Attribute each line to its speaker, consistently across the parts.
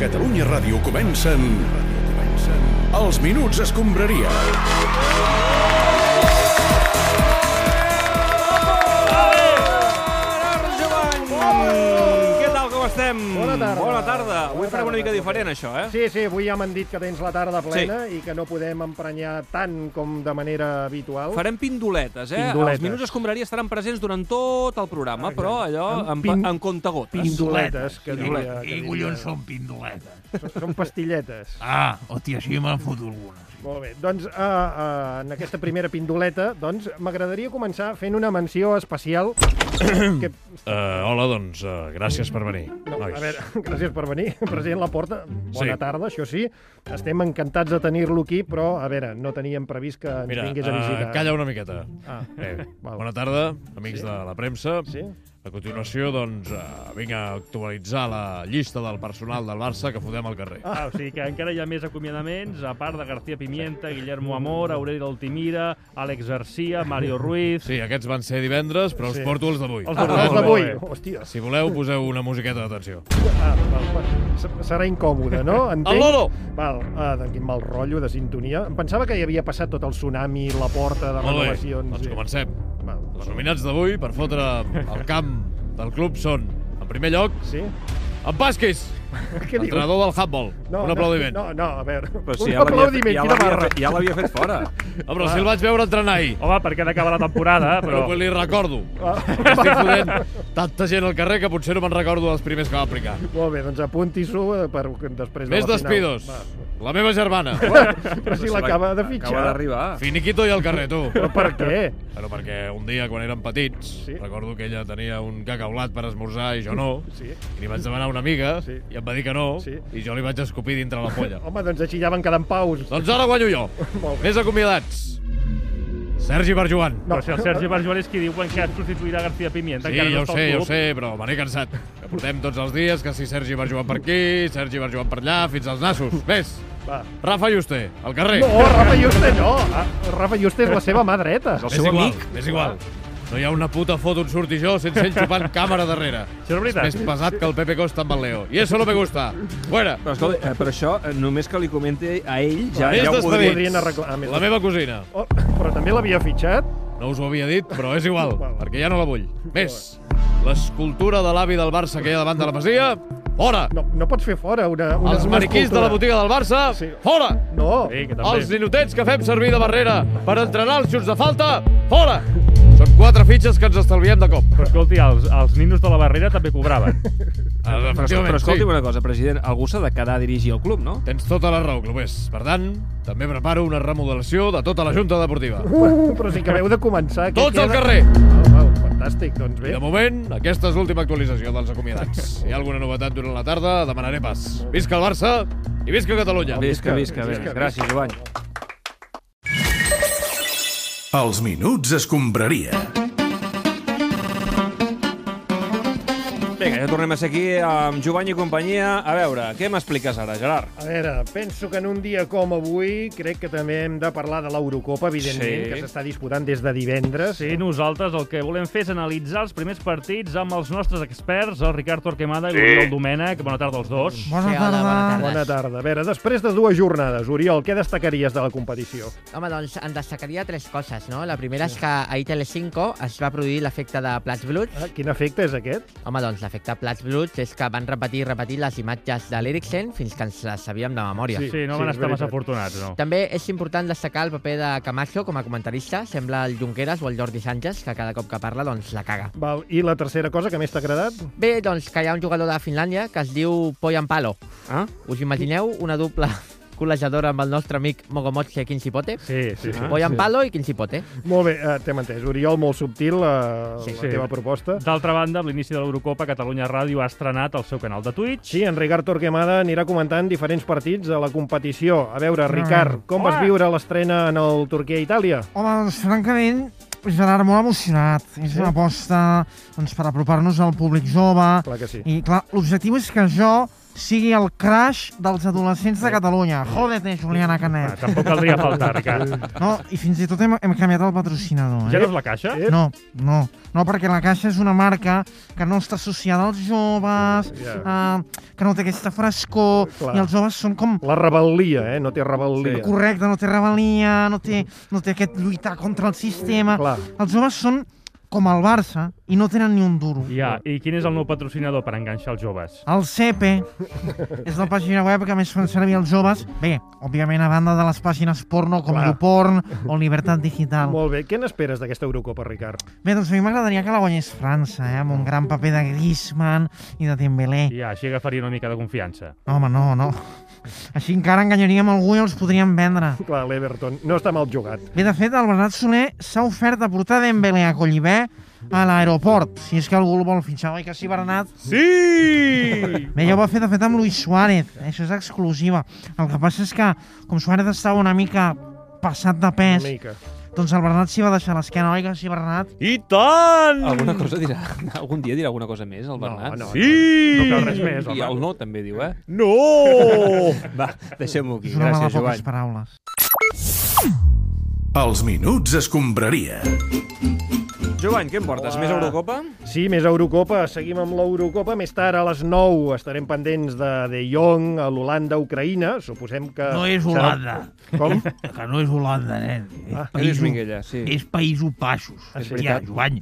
Speaker 1: Catalunya Ràdio comencen... comencen Els Minuts Escombraria.
Speaker 2: Què tal, com estem?
Speaker 3: Bona tarda.
Speaker 2: Bona tarda. Avui
Speaker 3: Bona
Speaker 2: farem una
Speaker 3: tarda.
Speaker 2: mica diferent, això, eh?
Speaker 3: Sí, sí, avui ja m'han dit que tens la tarda plena i que no podem emprenyar tant com de manera habitual.
Speaker 2: Farem pindoletes, eh?
Speaker 3: Pindoletes.
Speaker 2: Els minuts escombraria estaran presents durant tot el programa,
Speaker 3: Exacte.
Speaker 2: però allò
Speaker 3: Amb
Speaker 2: amb,
Speaker 3: pin-
Speaker 2: amb, amb comptagotes.
Speaker 3: Pindoletes, que diria.
Speaker 4: I,
Speaker 3: Que
Speaker 4: i
Speaker 3: diria.
Speaker 4: collons són pindoletes.
Speaker 3: Són pastilletes.
Speaker 4: Ah, hòstia, així me'n foto algunes.
Speaker 3: Molt bé, doncs uh, uh, en aquesta primera pindoleta doncs m'agradaria començar fent una menció especial que...
Speaker 5: Uh, hola, doncs, uh, gràcies per venir.
Speaker 3: No,
Speaker 5: nois.
Speaker 3: a veure, gràcies per venir, president Laporta. Bona
Speaker 5: Sí.
Speaker 3: tarda, això sí. Estem encantats de tenir-lo aquí, però, a veure, no teníem previst que ens
Speaker 5: Mira,
Speaker 3: vingués a visitar.
Speaker 5: uh, calla una miqueta.
Speaker 3: Ah,
Speaker 5: Bé,
Speaker 3: val.
Speaker 5: bona tarda, amics
Speaker 3: Sí.
Speaker 5: de la premsa.
Speaker 3: Sí?
Speaker 5: A continuació, doncs, uh, vinc a actualitzar la llista del personal del Barça que fotem al carrer.
Speaker 6: Ah, o sigui que encara hi ha més acomiadaments, a part de García Pimienta, Guillermo Amor, Aureli Altimira, Àlex Garcia, Mario Ruiz...
Speaker 5: Sí, aquests van ser divendres, però us
Speaker 3: Sí.
Speaker 5: porto els d'avui.
Speaker 6: Els
Speaker 3: Ah,
Speaker 6: d'avui.
Speaker 3: ah,
Speaker 6: molt bé.
Speaker 3: l'avui. Hòstia,
Speaker 5: Si voleu, poseu una musiqueta d'atenció.
Speaker 3: Ah, val, val. Serà incòmode, no? Entenc.
Speaker 5: El loro!
Speaker 3: Val, ah, de quin mal rotllo, de sintonia. Em pensava que hi havia passat tot el tsunami, la porta de
Speaker 5: Molt bé,
Speaker 3: renovacions...
Speaker 5: doncs
Speaker 3: i-
Speaker 5: comencem.
Speaker 3: Val.
Speaker 5: Els nominats d'avui per fotre el camp del club són, en primer lloc,
Speaker 3: Sí?
Speaker 5: en Pasquis,
Speaker 3: Què dius?
Speaker 5: entrenador del handball. Un aplaudiment.
Speaker 3: No, no, a veure...
Speaker 2: Però
Speaker 3: un
Speaker 2: si ja l'havia
Speaker 3: aplaudiment,
Speaker 2: ja
Speaker 3: quina
Speaker 2: l'havia
Speaker 3: barra.
Speaker 2: fet- ja l'havia fet fora.
Speaker 5: Ah, però si el vaig veure entrenar ahir.
Speaker 6: Home, perquè ha d'acabar la temporada,
Speaker 5: Però
Speaker 6: però...
Speaker 5: que li recordo.
Speaker 3: Ah.
Speaker 5: Que Estic fotent tanta gent al carrer que potser no me'n recordo dels primers que va aplicar.
Speaker 3: Molt bé, doncs apunti-s'ho eh, per després
Speaker 5: Més
Speaker 3: de la final.
Speaker 5: despidos. La meva germana.
Speaker 3: Va. Però si l'acaba de
Speaker 2: Acaba
Speaker 3: fitxar.
Speaker 2: d'arribar.
Speaker 5: Finiquito i al carrer, tu.
Speaker 3: Però per què?
Speaker 5: Bueno, perquè un dia, quan érem petits,
Speaker 3: Sí.
Speaker 5: recordo que ella tenia un cacaulat per esmorzar i jo no.
Speaker 3: Sí.
Speaker 5: I li vaig demanar a una amiga
Speaker 3: Sí.
Speaker 5: i em va dir que no
Speaker 3: Sí.
Speaker 5: i jo li vaig escopir dintre la polla.
Speaker 3: Home, doncs així ja van quedar en paus.
Speaker 5: doncs ara guanyo jo.
Speaker 3: Molt bé.
Speaker 5: Més acomiadats. Sergi Barjoan.
Speaker 6: Però si el Sergi Barjuan és qui diuen que substituirà García Pimienta,
Speaker 5: Sí,
Speaker 6: encara
Speaker 5: ja
Speaker 6: no
Speaker 5: ho
Speaker 6: està
Speaker 5: sé, ja
Speaker 6: al
Speaker 5: ho
Speaker 6: club.
Speaker 5: sé, però me n'he cansat. Que portem tots els dies, que si Sergi va jugant per aquí, Sergi va jugant per allà, fins als nassos. Ves,
Speaker 3: Va.
Speaker 5: Rafa Juste, al carrer.
Speaker 3: No, Rafa Juste no. Ah, Rafa Juste és la seva mà dreta.
Speaker 2: El
Speaker 5: és
Speaker 2: seu
Speaker 5: igual,
Speaker 2: amic.
Speaker 5: és igual. No hi ha una puta foto on surti jo sense ell xupant càmera darrere.
Speaker 6: Això és veritat.
Speaker 5: Més pesat que el Pepe Costa amb el Leo. I eso no me gusta. Fuera.
Speaker 2: Però, escolta, eh, però això, eh, només que li comenti a ell, ja,
Speaker 5: Més
Speaker 2: ja ho
Speaker 5: despedits.
Speaker 2: podria...
Speaker 3: podrien arreglar. Ah, més
Speaker 5: La meva cosina.
Speaker 3: Oh, però també l'havia fitxat?
Speaker 5: No us ho havia dit, però és igual,
Speaker 3: Val.
Speaker 5: perquè ja no la vull. Més, l'escultura de l'avi del Barça que hi ha davant de la Masia, fora!
Speaker 3: No, no pots fer fora una, una
Speaker 5: Els
Speaker 3: una
Speaker 5: mariquís de la
Speaker 3: escultura.
Speaker 5: botiga del Barça,
Speaker 3: Sí.
Speaker 5: fora!
Speaker 3: No,
Speaker 6: Sí, que també.
Speaker 5: Els ninotets que fem servir de barrera per entrenar els xuts de falta, fora! Són quatre fitxes que ens estalviem de cop.
Speaker 6: Però escolti, els, els ninos de la barrera també cobraven.
Speaker 2: Però, escolta, però escolti una cosa, president, algú s'ha de quedar a dirigir el club, no?
Speaker 5: Tens tota la raó, Clopés. Per tant, també preparo una remodelació de tota la Junta Deportiva.
Speaker 3: però sí que veu de començar. que
Speaker 5: Tots al
Speaker 3: queda-
Speaker 5: carrer!
Speaker 3: Au, au, fantàstic, doncs
Speaker 5: I
Speaker 3: bé.
Speaker 5: de moment, aquesta és l'última actualització dels acomiadats. Si hi ha alguna novetat durant la tarda, demanaré pas. Visca el Barça i visca Catalunya!
Speaker 2: Visca, visca, visca. Gràcies, Joan.
Speaker 1: Els Minuts Escombraria.
Speaker 2: Vinga, ja tornem a ser aquí amb Jovany i companyia. A veure, què m'expliques ara, Gerard?
Speaker 3: A veure, penso que en un dia com avui crec que també hem de parlar de l'Eurocopa,
Speaker 2: Sí.
Speaker 3: evidentment, que s'està disputant des de divendres.
Speaker 6: Sí, nosaltres el que volem fer és analitzar els primers partits amb els nostres experts, el Ricard Torquemada i l'Oriol Domènech. Bona tarda als dos.
Speaker 7: Bona sí, tarda. Hola,
Speaker 3: Bona tarda. A veure, després de dues jornades, Oriol, què destacaries de la competició?
Speaker 7: Home, doncs en destacaria tres coses, no? La primera és que a Telecinco es va produir l'efecte de plats bruts.
Speaker 3: Ah, quin efecte és aquest?
Speaker 7: Home, doncs l'efecte plats bruts és que van repetir i repetir les imatges de l'Eriksen fins que ens les sabíem de memòria.
Speaker 3: Sí.
Speaker 6: Sí, no van
Speaker 3: és
Speaker 6: estar massa
Speaker 3: veritat.
Speaker 6: afortunats, no?
Speaker 7: També és important destacar el paper de Camacho com a comentarista. Sembla el Junqueras o el Jordi Sánchez, que cada cop que parla, doncs, la caga.
Speaker 3: Val, I la tercera cosa que més t'ha agradat?
Speaker 7: Bé, doncs, que hi ha un jugador de Finlàndia que es diu Poyan Palo.
Speaker 2: Ah?
Speaker 7: Us imagineu una dupla col·lejadora amb el nostre amic Mogomotxe Quinsipote?
Speaker 6: Sí,
Speaker 3: Ah,
Speaker 6: sí, sí.
Speaker 7: Poyan Palo i Quinsipote.
Speaker 3: Molt bé, eh, t'hem entès. Oriol, molt subtil eh,
Speaker 7: Sí,
Speaker 3: la
Speaker 6: sí.
Speaker 3: teva proposta.
Speaker 6: D'altra banda, amb l'inici de l'Eurocopa, Catalunya Ràdio ha estrenat el seu canal de Twitch.
Speaker 3: Sí, en Ricard Torquemada anirà comentant diferents partits de la competició. A veure, Ricard,
Speaker 4: Mm.
Speaker 3: com vas
Speaker 6: Hola.
Speaker 3: viure l'estrena en el Turquia-Itàlia?
Speaker 8: Home, doncs, francament, Gerard, molt emocionat. És
Speaker 3: Sí?
Speaker 8: una aposta doncs, per apropar-nos al públic jove.
Speaker 3: Clar que sí.
Speaker 8: I, clar, l'objectiu és que jo sigui el crash dels adolescents de Catalunya. Jódete, Juliana
Speaker 6: Ah,
Speaker 8: Canet.
Speaker 6: tampoc caldria faltar, Ricard.
Speaker 8: No, i fins i tot hem, hem canviat el patrocinador, eh?
Speaker 6: Ja no és la caixa?
Speaker 3: Eh?
Speaker 8: No, no, no, perquè la Caixa és una marca que no està associada als joves, yeah. eh, que no té aquesta frescor,
Speaker 3: Clar.
Speaker 8: i els joves són com...
Speaker 3: La rebel·lia, eh? No té rebel·lia.
Speaker 8: Correcte, no té rebel·lia, no té, no té aquest lluitar contra el sistema.
Speaker 3: Clar.
Speaker 8: Els joves són com el Barça i no tenen ni un duro.
Speaker 6: Ja, i quin és el nou patrocinador per enganxar els joves?
Speaker 8: El CEPE és la pàgina web que més fan servir els joves. Bé, òbviament a banda de les pàgines porno com
Speaker 3: Clar.
Speaker 8: YouPorn o Libertat Digital.
Speaker 3: Molt bé. Què n'esperes d'aquesta Eurocopa, Ricard?
Speaker 8: Bé, doncs a mi m'agradaria que la guanyés França, eh? amb un gran paper de Griezmann i de Dembélé.
Speaker 6: Ja, així agafaria una mica de confiança.
Speaker 8: No, home, no, no. Així encara enganyaríem algú i els podríem vendre.
Speaker 3: Clar, l'Everton no està mal jugat.
Speaker 8: Bé, de fet, el Bernat Soler s'ha ofert a portar Dembélé a Collibè a l'aeroport, si és que algú el vol fitxar, oi que sí, Bernat?
Speaker 5: Sí!
Speaker 8: Bé, ja ho va fer, de fet, amb Luis Suárez. eh, Això és exclusiva. El que passa és que, com Suárez estava una mica passat de pes,
Speaker 3: Una mica.
Speaker 8: doncs el Bernat s'hi va deixar l'esquena, oi que sí, Bernat?
Speaker 5: I tant!
Speaker 2: Alguna cosa dirà, algun dia dirà alguna cosa més, el Bernat?
Speaker 3: no.
Speaker 5: Sí!
Speaker 6: No cal res més,
Speaker 2: I el
Speaker 6: home.
Speaker 2: no també diu, eh?
Speaker 5: No!
Speaker 2: Va, deixem-ho aquí.
Speaker 8: És un home de
Speaker 2: Gràcies,
Speaker 8: poques
Speaker 2: Joan.
Speaker 8: paraules.
Speaker 1: Els minuts escombraria.
Speaker 2: Joan, què em portes? Més Eurocopa?
Speaker 3: Sí, més Eurocopa. Seguim amb l'Eurocopa. Més tard, a les 9, estarem pendents de De Jong a l'Holanda-Ucraïna. Suposem que...
Speaker 4: No és
Speaker 3: Eh, serà-
Speaker 4: Holanda,
Speaker 3: Com?
Speaker 4: que no és Holanda, nen. És
Speaker 3: Ah,
Speaker 2: Lluís
Speaker 4: països,
Speaker 2: Minguella, sí.
Speaker 4: és països baixos.
Speaker 3: Ah, sí?
Speaker 4: Hòstia, Joan,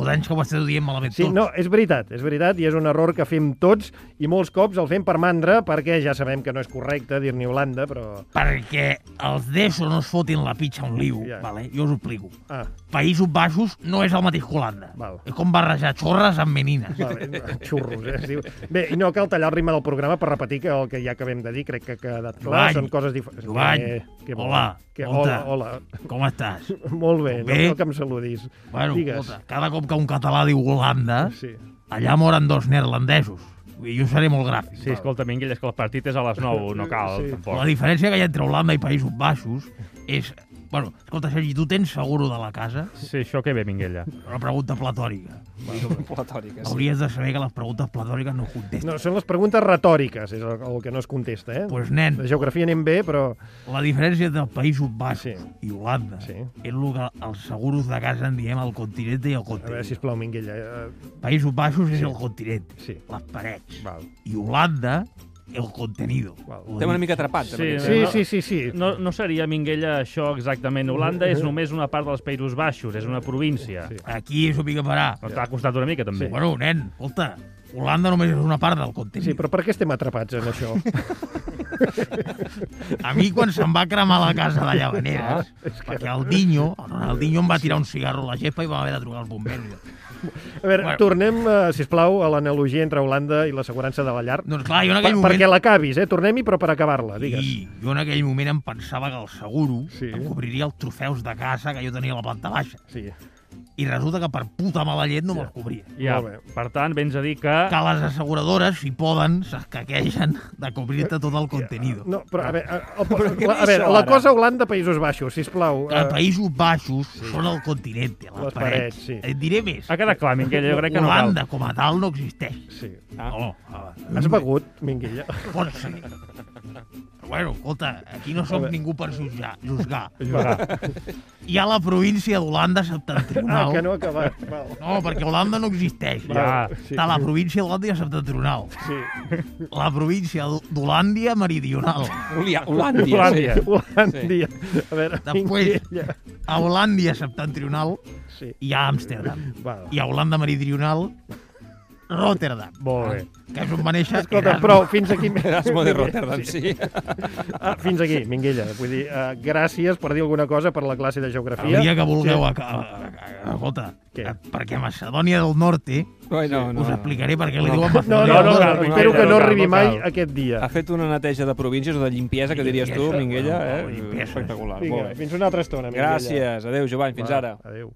Speaker 4: fa anys que ho esteu dient malament
Speaker 3: Sí,
Speaker 4: tot.
Speaker 3: no, és veritat, és veritat, i és un error que fem tots, i molts cops el fem per mandra, perquè ja sabem que no és correcte dir-ne Holanda, però...
Speaker 4: Perquè els d'ESO no es fotin la pitxa a un liu,
Speaker 3: Ja.
Speaker 4: vale? jo us ho explico.
Speaker 3: Ah,
Speaker 4: Països Baixos no és el mateix que Holanda.
Speaker 3: Val.
Speaker 4: És com barrejar xorres amb menines.
Speaker 3: vale, xurros, eh? es diu. Bé, i no cal tallar el ritme del programa per repetir que el que ja acabem de dir, crec que ha quedat clar,
Speaker 4: Jovany,
Speaker 3: són coses diferents.
Speaker 4: Jovany,
Speaker 3: vol?
Speaker 4: hola,
Speaker 3: Que, hola,
Speaker 4: escolta.
Speaker 3: hola.
Speaker 4: Com estàs?
Speaker 3: Molt bé, no
Speaker 4: Bé.
Speaker 3: cal que em saludis.
Speaker 4: Bueno,
Speaker 3: Digues.
Speaker 4: escolta, cada cop que un català diu Holanda,
Speaker 3: Sí.
Speaker 4: allà moren dos neerlandesos. I jo seré molt gràfic.
Speaker 6: Sí, escolta, Minguell, és que el partit és a les 9, no cal,
Speaker 3: Sí.
Speaker 4: La
Speaker 6: tampoc.
Speaker 4: diferència que hi ha entre Holanda i Països Baixos és... Bueno, escolta, Sergi, tu tens seguro de la casa?
Speaker 6: Sí, això que ve, Minguella.
Speaker 4: Una pregunta platòrica.
Speaker 2: Platòriques.
Speaker 4: Hauries de saber que les preguntes platòriques no contesten.
Speaker 3: No, són les preguntes retòriques, és el, el que no es contesta, eh?
Speaker 4: Pues nen,
Speaker 3: De geografia anem bé, però...
Speaker 4: la diferència entre Països Baixos
Speaker 3: Sí.
Speaker 4: i Holanda
Speaker 3: Sí.
Speaker 4: és el que els seguros de casa en diem el continente i el
Speaker 3: A veure,
Speaker 4: continent.
Speaker 3: sisplau, Minguella. eh,
Speaker 4: Països Baixos és el continent,
Speaker 3: Sí.
Speaker 4: les parets.
Speaker 3: Val.
Speaker 4: I Holanda, el contenido.
Speaker 3: Val.
Speaker 4: Ho
Speaker 2: Estem una
Speaker 4: dic.
Speaker 2: mica atrapats. Sí, sí.
Speaker 6: Sí,
Speaker 3: Sí,
Speaker 6: no.
Speaker 3: sí, sí, sí.
Speaker 6: No, no seria, Minguella, això exactament. Holanda és només una part dels Països Baixos, és una província.
Speaker 3: Sí.
Speaker 4: Aquí és un mica parar.
Speaker 6: Doncs t'ha costat una mica, també.
Speaker 4: Bueno, nen, escolta, Holanda només és una part del continent.
Speaker 3: Sí, però per què estem atrapats en això?
Speaker 4: A mi, quan se'm va cremar la casa de Llavaneres,
Speaker 3: Ah,
Speaker 4: perquè el Dinyo, el Ronaldinho em va tirar un cigarro a la gespa i va haver de trucar al bomber.
Speaker 3: A veure, bueno.
Speaker 4: Bueno.
Speaker 3: tornem, eh, sisplau, a l'analogia entre Holanda i l'assegurança de la llar.
Speaker 4: Doncs clar, jo en
Speaker 3: Per,
Speaker 4: aquell
Speaker 3: Perquè
Speaker 4: moment...
Speaker 3: l'acabis, eh? Tornem-hi, però per acabar-la, digues.
Speaker 4: I jo en aquell moment em pensava que el seguro
Speaker 3: Sí.
Speaker 4: sí. em cobriria els trofeus de casa que jo tenia a la planta baixa.
Speaker 3: Sí.
Speaker 4: I resulta que per puta mala llet no me'ls cobria.
Speaker 6: Ja,
Speaker 3: Molt bé.
Speaker 6: per tant, vens a dir que...
Speaker 4: Que les asseguradores, si poden, s'escaquegen de cobrir-te tot el contenido.
Speaker 3: No, però a veure, a, a,
Speaker 2: què
Speaker 3: la, a
Speaker 2: és
Speaker 3: veure
Speaker 2: això,
Speaker 3: la
Speaker 2: ara?
Speaker 3: cosa Holanda, Països Baixos, sisplau. eh,
Speaker 4: Que els Països Baixos sí. són el continent, les,
Speaker 3: Les
Speaker 4: les
Speaker 3: parets,
Speaker 4: parets.
Speaker 3: sí.
Speaker 4: Et diré més.
Speaker 6: Ha quedat clar, Minguella, Ah, jo crec que no cal.
Speaker 4: Holanda, com a tal, no existeix.
Speaker 3: sí.
Speaker 4: Ah.
Speaker 3: Ah.
Speaker 4: Oh, No,
Speaker 3: Has begut, Minguilla?
Speaker 4: Pot ser. Però Bueno, escolta, aquí no som ningú per jutjar. Juzgar.
Speaker 6: Vinga.
Speaker 4: Hi ha la província d'Holanda
Speaker 3: Ah,
Speaker 4: septentrional.
Speaker 3: que no ha acabat. Val.
Speaker 4: No, perquè Holanda no existeix.
Speaker 6: Ja.
Speaker 3: sí.
Speaker 4: Està la província d'Holàndia septentrional.
Speaker 3: Sí.
Speaker 4: La província d'Ho- d'Holàndia meridional.
Speaker 2: Holàndia. Holàndia. Sí.
Speaker 6: Holàndia.
Speaker 3: Holàndia. A veure,
Speaker 4: Després,
Speaker 3: Minguella.
Speaker 4: a Holàndia septentrional
Speaker 3: Sí.
Speaker 4: hi ha Amsterdam.
Speaker 3: Val.
Speaker 4: I a Holanda meridional, Rotterdam.
Speaker 6: Molt bé.
Speaker 4: Que és on va néixer
Speaker 3: Escolta,
Speaker 4: Erasme.
Speaker 3: prou, fins aquí.
Speaker 2: Erasmo de Rotterdam, sí.
Speaker 3: Ah, fins aquí, Minguella. Vull dir, uh, gràcies per dir alguna cosa per la classe de
Speaker 4: El
Speaker 3: geografia.
Speaker 4: dia que vulgueu... A, a, a, a, escolta,
Speaker 3: Què?
Speaker 4: eh, perquè Macedònia del Norte
Speaker 2: Ai, no, no.
Speaker 4: us explicaré per què li
Speaker 2: No.
Speaker 4: diuen
Speaker 3: No,
Speaker 4: Macedònia
Speaker 3: no,
Speaker 4: del
Speaker 3: no, no,
Speaker 4: Norte.
Speaker 6: cal,
Speaker 3: espero
Speaker 6: Minguella,
Speaker 3: que no
Speaker 6: no cal,
Speaker 3: arribi
Speaker 6: no
Speaker 3: mai
Speaker 6: cal.
Speaker 3: aquest
Speaker 2: Ha
Speaker 3: dia.
Speaker 2: fet una neteja de províncies o de limpiesa, que diries tu,
Speaker 4: Limpiesa.
Speaker 2: Minguella, eh?
Speaker 4: Limpiesa.
Speaker 2: Espectacular.
Speaker 3: Vinga,
Speaker 2: Molt bé.
Speaker 3: fins una altra estona, Minguella.
Speaker 2: Gràcies. Adéu, Jovany. Fins
Speaker 3: Va,
Speaker 2: ara.
Speaker 3: Adéu.